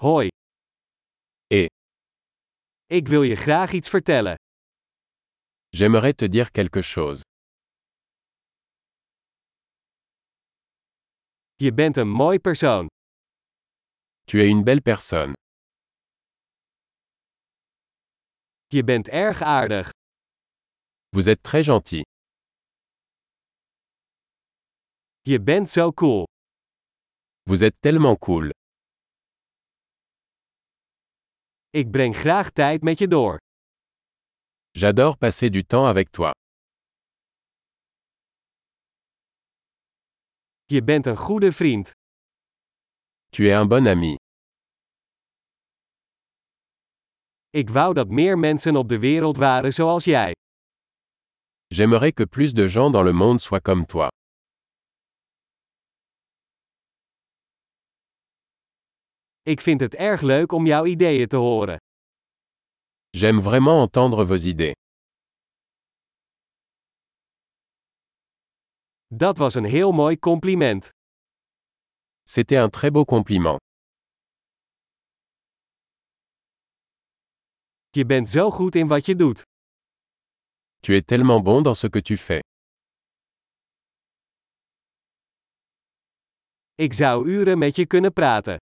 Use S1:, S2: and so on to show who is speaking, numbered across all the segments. S1: Hoi,
S2: Eh.
S1: ik wil je graag iets vertellen.
S2: J'aimerais te dire quelque chose.
S1: Je bent een mooi persoon.
S2: Tu es une belle personne.
S1: Je bent erg aardig.
S2: Vous êtes très gentil.
S1: Je bent zo cool.
S2: Vous êtes tellement cool.
S1: Ik breng graag tijd met je door.
S2: J'adore passer du temps avec toi.
S1: Je bent een goede vriend.
S2: Tu es un bon ami.
S1: Ik wou dat meer mensen op de wereld waren zoals jij.
S2: J'aimerais que plus de gens dans le monde soient comme toi.
S1: Ik vind het erg leuk om jouw ideeën te horen.
S2: J'aime vraiment entendre vos idées.
S1: Dat was een heel mooi compliment.
S2: C'était un très beau compliment.
S1: Je bent zo goed in wat je doet.
S2: Tu es tellement bon dans ce que tu fais.
S1: Ik zou uren met je kunnen praten.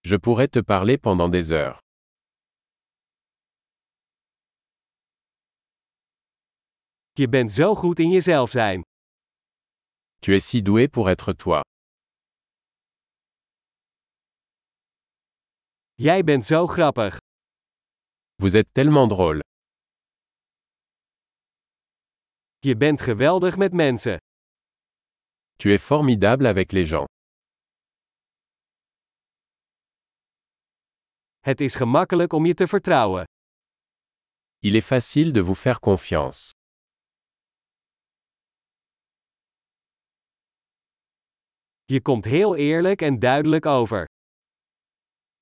S2: Je pourrais te parler pendant des heures.
S1: Je bent zo goed in jezelf zijn.
S2: Tu es si doué pour être toi.
S1: Jij bent zo grappig.
S2: Vous êtes tellement drôle.
S1: Je bent geweldig met mensen.
S2: Tu es formidable avec les gens.
S1: Het is gemakkelijk om je te vertrouwen.
S2: Il est facile de vous faire confiance.
S1: Je komt heel eerlijk en duidelijk over.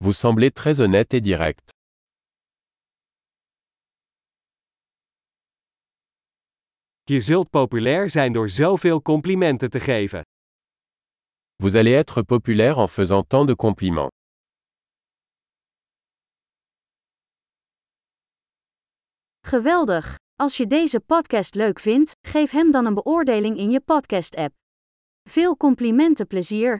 S2: Vous semblez très honnête et direct.
S1: Je zult populair zijn door zoveel complimenten te geven.
S2: Vous allez être populaire en faisant tant de compliments.
S3: Geweldig! Als je deze podcast leuk vindt, geef hem dan een beoordeling in je podcast-app. Veel complimenten plezier!